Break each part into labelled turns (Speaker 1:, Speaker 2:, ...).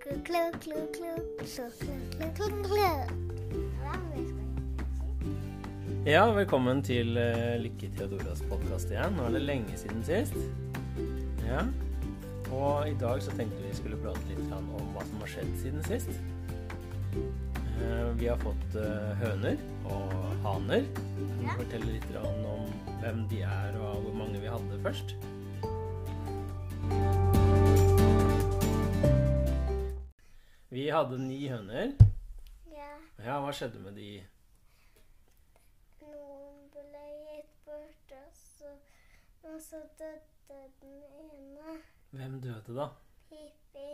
Speaker 1: klu, klu, klu, klu, klu, klu, klu. Hva mer skal jeg si?
Speaker 2: Ja, velkommen til eh, Lykke Theodoras podkast igjen. Nå er det lenge siden sist. Ja. Og i dag så tenkte vi skulle prate litt grann om hva som har skjedd siden sist. Eh, Vi har fått eh, høner og haner. Vi
Speaker 1: Ja.
Speaker 2: forteller litt grann om hvem de er og hvor mange vi hadde først. Vi hadde ni høner.
Speaker 1: Ja,
Speaker 2: Ja, hva skjedde med de?
Speaker 1: noen ble gitt bort, og så, og så døde den ene.
Speaker 2: Hvem døde, da?
Speaker 1: Pippi.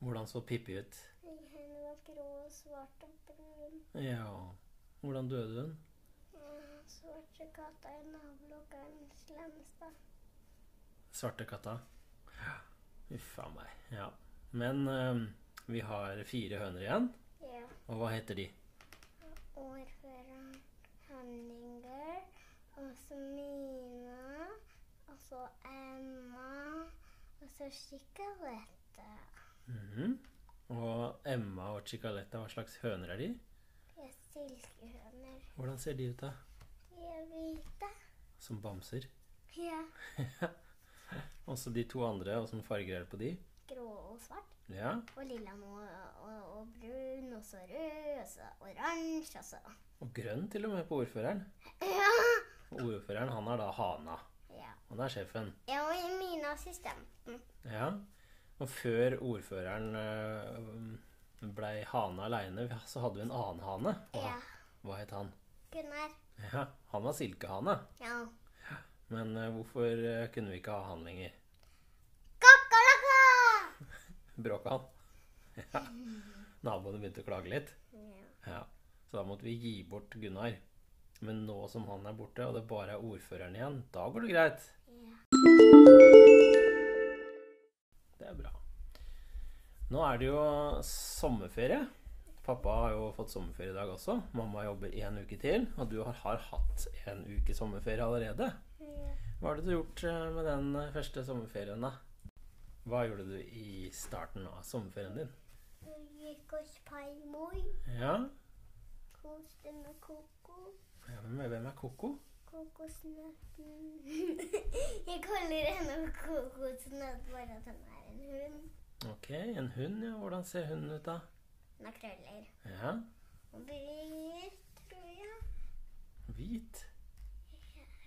Speaker 2: Hvordan så Pippi ut?
Speaker 1: Hun var grå og svart og brun.
Speaker 2: Ja Hvordan døde hun?
Speaker 1: Og Svarte katta i nabolokkeren Slemstad.
Speaker 2: Svarte katta. Uff a meg. Ja. Men eh, vi har fire høner igjen.
Speaker 1: Ja.
Speaker 2: Og hva heter de?
Speaker 1: ordføreren Henninger, og så Mina, og så Emma, og så Chikalette.
Speaker 2: Mhm. Og Emma og Chicaletta, hva slags høner er de?
Speaker 1: De er silkehøner.
Speaker 2: Hvordan ser de ut, da?
Speaker 1: De er hvite.
Speaker 2: Som bamser.
Speaker 1: Ja.
Speaker 2: Og så de to andre, åssen farger er det på de?
Speaker 1: Grå og svart,
Speaker 2: Ja.
Speaker 1: og lilla nå, og, og brun, og så rød, og så oransje, og så
Speaker 2: Og grønn til og med på ordføreren.
Speaker 1: Ja!
Speaker 2: Ordføreren han er da hana.
Speaker 1: Ja,
Speaker 2: Han er sjefen.
Speaker 1: ja og Mina mm, assistenten.
Speaker 2: Ja. Og før ordføreren eh, blei hane aleine, så hadde vi en annen hane. Og
Speaker 1: Ja.
Speaker 2: Hva het han?
Speaker 1: Gunnar.
Speaker 2: Ja, han var silkehane.
Speaker 1: Ja.
Speaker 2: Men eh, hvorfor eh, kunne vi ikke ha han lenger?
Speaker 1: Kakalaka!
Speaker 2: Bråka han? Ja. Naboene begynte å klage litt.
Speaker 1: Ja.
Speaker 2: Ja. Så da måtte vi gi bort Gunnar. Men nå som han er borte, og det bare er ordføreren igjen, da går det greit.
Speaker 1: ja.
Speaker 2: Det er bra. Nå er det jo sommerferie. Pappa har jo fått sommerferie i dag også. Mamma jobber én uke til, og du har, har hatt en uke sommerferie allerede.
Speaker 1: ja.
Speaker 2: Hva har du gjort eh, med den eh, første sommerferien, da? Hva gjorde du i starten av sommerferien din?
Speaker 1: Jeg gikk hos Paimoi,
Speaker 2: Ja,
Speaker 1: koste med Koko.
Speaker 2: ja, hvem er- hvem er Koko?
Speaker 1: Kokosnøtten. jeg kaller henne for kokosnøtt bare at hun er en hund.
Speaker 2: Ok, en hund, ja. Hvordan ser hunden ut, da?
Speaker 1: Hun har krøller.
Speaker 2: Ja,
Speaker 1: Og bryr, tror jeg.
Speaker 2: hvit.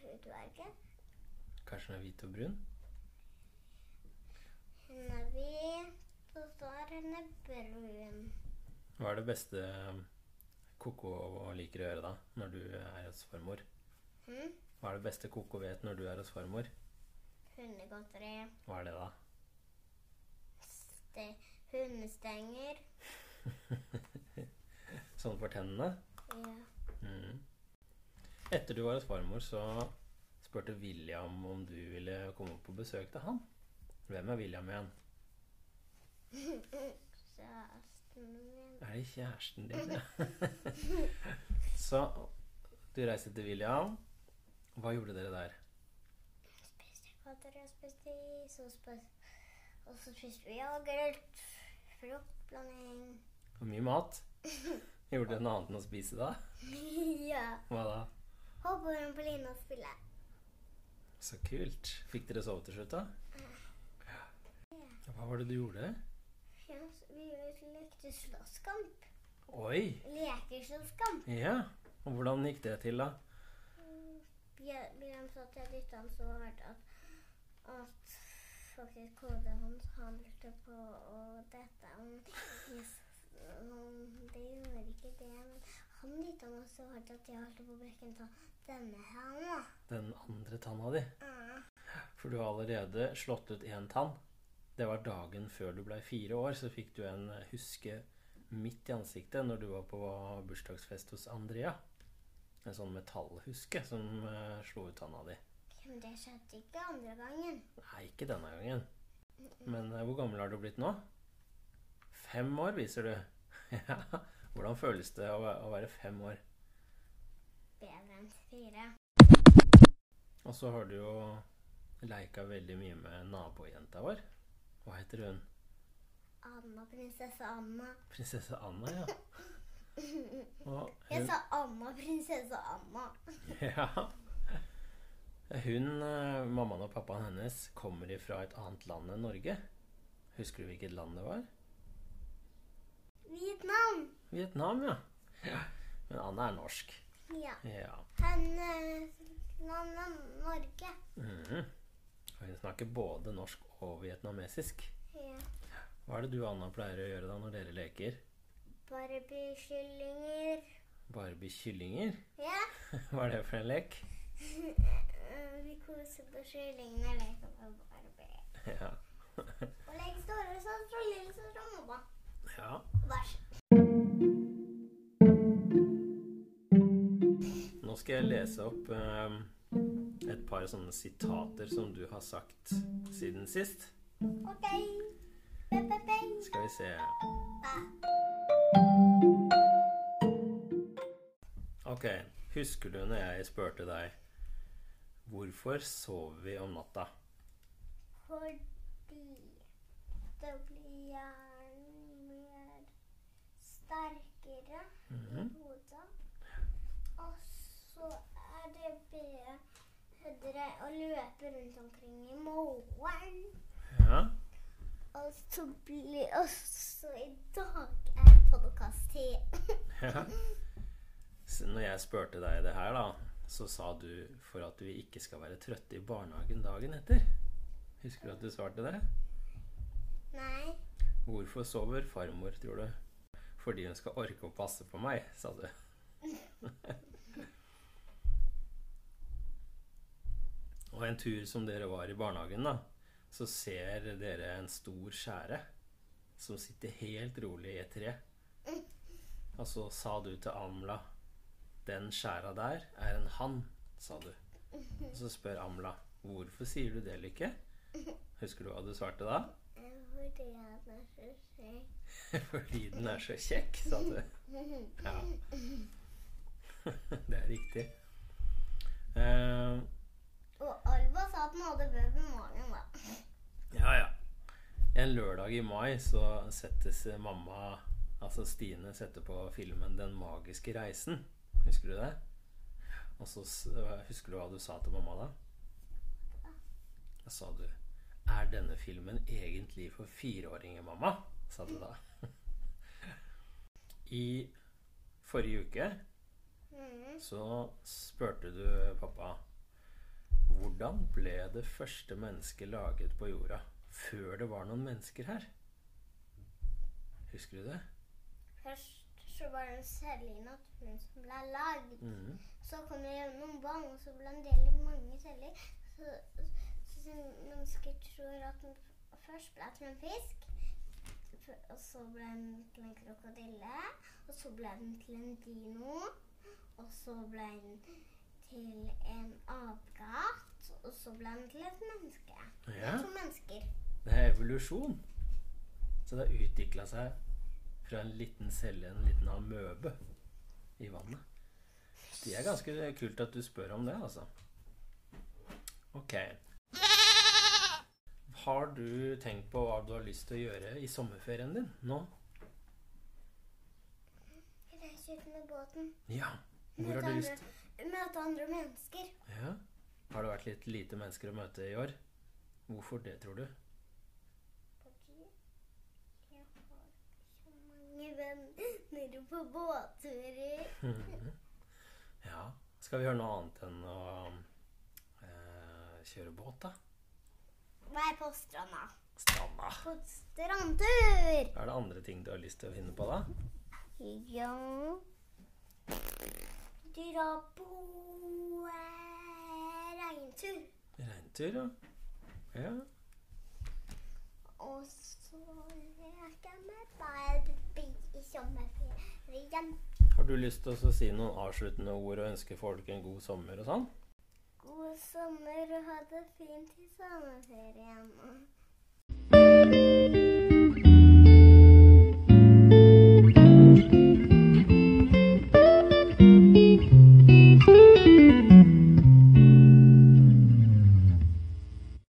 Speaker 1: Hudfarge.
Speaker 2: Kanskje den er hvit og brun?
Speaker 1: Hun er hvit, og så er hun brun.
Speaker 2: Hva er det beste eh, Koko liker å gjøre da, når du er hos farmor?
Speaker 1: Hm?
Speaker 2: Hva er det beste Koko vet når du er hos farmor?
Speaker 1: Hundegodteri.
Speaker 2: Hva er det da?
Speaker 1: Ste hundestenger.
Speaker 2: Sånn for tennene?
Speaker 1: Ja.
Speaker 2: Mhm. Etter du var hos farmor, så spurte William om du ville komme på besøk til han. Hvem er William igjen?
Speaker 1: Kjæresten min.
Speaker 2: Er det kjæresten din? så du reiste til William. Hva gjorde dere der?
Speaker 1: spiste katter og spiste is, og, spis, og så spiste vi yoghurt, fruktblanding.
Speaker 2: Og mye mat. Gjorde dere noe annet enn å spise da?
Speaker 1: ja.
Speaker 2: Hva da?
Speaker 1: Hoppa rundt på lina og spille.
Speaker 2: Så kult. Fikk dere sove til slutt da? Hva var det du gjorde?
Speaker 1: Ja, så vi lekte slåsskamp.
Speaker 2: Oi!
Speaker 1: Lekeslåsskamp.
Speaker 2: Ja. Og hvordan gikk det til da?
Speaker 1: Bjør- Bjørn sa at jeg dytta han så hardt at, at faktisk hodet hans han lurte på å dette. Han, yes, han, det gjorde ikke det, men han dytta meg så hardt at jeg holdt på å brekke en tann. Denne her nå.
Speaker 2: Den andre tanna di.
Speaker 1: Ah.
Speaker 2: For du har allerede slått ut én tann. Det var dagen før du blei fire år, så fikk du en eh, huske midt i ansiktet når du var på bursdagsfest hos Andrea. En sånn metallhuske som eh, slo ut tanna di.
Speaker 1: Men det skjedde ikke andre gangen.
Speaker 2: Nei, ikke denne gangen. Men eh, hvor gammel har du blitt nå? Fem år, viser du. ja. Hvordan føles det å væ- å være fem år?
Speaker 1: Bedre enn fire.
Speaker 2: Og så har du jo leika veldig mye med nabojenta vår. Hva heter hun?
Speaker 1: Anna, prinsesse Anna.
Speaker 2: Prinsesse Anna, ja. Og
Speaker 1: Jeg
Speaker 2: hun,
Speaker 1: sa Anna, prinsesse Anna.
Speaker 2: ja. Hun, eh, mammaen og pappaen hennes, kommer ifra et annet land enn Norge. Husker du hvilket land det var?
Speaker 1: Vietnam.
Speaker 2: Vietnam, ja. ja. Men Anna er norsk.
Speaker 1: Ja.
Speaker 2: Ja.
Speaker 1: Hennes land er Norge.
Speaker 2: Mhm. Og Hun snakker både norsk og vietnamesisk.
Speaker 1: Ja.
Speaker 2: Hva er det du, Anna, pleier å gjøre da når dere leker?
Speaker 1: Barbie-kyllinger.
Speaker 2: Barbie kyllinger?
Speaker 1: Ja.
Speaker 2: Hva er det for en lek?
Speaker 1: Eh, Vi koser på kyllingene og leker med Barbie.
Speaker 2: Ja.
Speaker 1: Og leker storesøster og lillesøster og mamma.
Speaker 2: ja.
Speaker 1: Vær
Speaker 2: Nå skal jeg lese opp eh, et par sånne sitater som du har sagt siden sist.
Speaker 1: Ok. Pe-pe-peng.
Speaker 2: Skal vi se Ok, husker du når jeg spurte deg Hvorfor sover vi om natta?
Speaker 1: Fordi det blir hjernen mer sterkere i
Speaker 2: Mhm.
Speaker 1: hodet. Og så er det bedre å løpe rundt omkring i morgen.
Speaker 2: Ja,
Speaker 1: Og så blir Og så i dag er podkast-tid.
Speaker 2: ja. Så når jeg spurte deg det her da Så sa du for at vi ikke skal være trøtte i barnehagen dagen etter Husker du at du svarte det?
Speaker 1: Nei.
Speaker 2: Hvorfor sover farmor, tror du? Fordi hun skal orke å passe på meg, sa du. Og en tur som dere var i barnehagen, da, så ser dere en stor skjære som sitter helt rolig i et tre. Og så sa du til Amla Den skjæra der er en hann, sa du. Og så spør Amla Hvorfor sier du det, Lykke? Husker du hva du svarte da?
Speaker 1: eh, Fordi han er så kjekk.
Speaker 2: Fordi den er så kjekk, sa du. Ja. Det er riktig. Eh,
Speaker 1: Og Alva sa at han hadde bøbb i magen, da.
Speaker 2: ja, ja. En lørdag i mai så settes eh, mamma, altså Stine, setter på filmen 'Den magiske reisen'. Husker du det? Og så s- eh, Husker du hva du sa til mamma da? Da sa du 'Er denne filmen egentlig for fireåringer, mamma?' sa du da. I forrige uke
Speaker 1: Mhm.
Speaker 2: Så spurte du pappa Hvordan ble det første mennesket laget på jorda før det var noen mennesker her? Husker du det?
Speaker 1: Først så var det en celle i naturen som ble lagd.
Speaker 2: Mhm.
Speaker 1: Så kom det gjennom vann, og så ble en del i mange celler. Så, så, så mennesker tror at den først ble til en fisk, f- og så ble den til en krokodille, og så ble den til en dino, og så ble den til en apekatt, og så ble den til et menneske.
Speaker 2: Ja,
Speaker 1: To mennesker.
Speaker 2: det er evolusjon. Så det har utvikla seg fra en liten celle, en liten amøbe, i vannet. Det er ganske kult at du spør om det, altså. Ok. Har du tenkt på hva du har lyst til å gjøre i sommerferien din nå?
Speaker 1: Reise ut med båten.
Speaker 2: Ja. Hvor har
Speaker 1: Møte
Speaker 2: du
Speaker 1: andre-
Speaker 2: lyst
Speaker 1: Møte andre mennesker.
Speaker 2: ja. Har det vært litt lite mennesker å møte i år? Hvorfor det, tror du?
Speaker 1: Fordi jeg har så mange venner på båtturer.
Speaker 2: Mm-hmm. Ja. Skal vi gjøre noe annet enn å eh, kjøre båt, da?
Speaker 1: Vær på stranda.
Speaker 2: Stranda.
Speaker 1: På strandtur!
Speaker 2: Er det andre ting du har lyst til å finne på, da?
Speaker 1: Ja Dra på eh, regntur.
Speaker 2: Regntur, ja. ja.
Speaker 1: Og så leker jeg med Barbie i sommerferien.
Speaker 2: Har du lyst til å si noen avsluttende ord og ønske folk en god sommer og sånn?
Speaker 1: God sommer og ha det fint i sommerferien.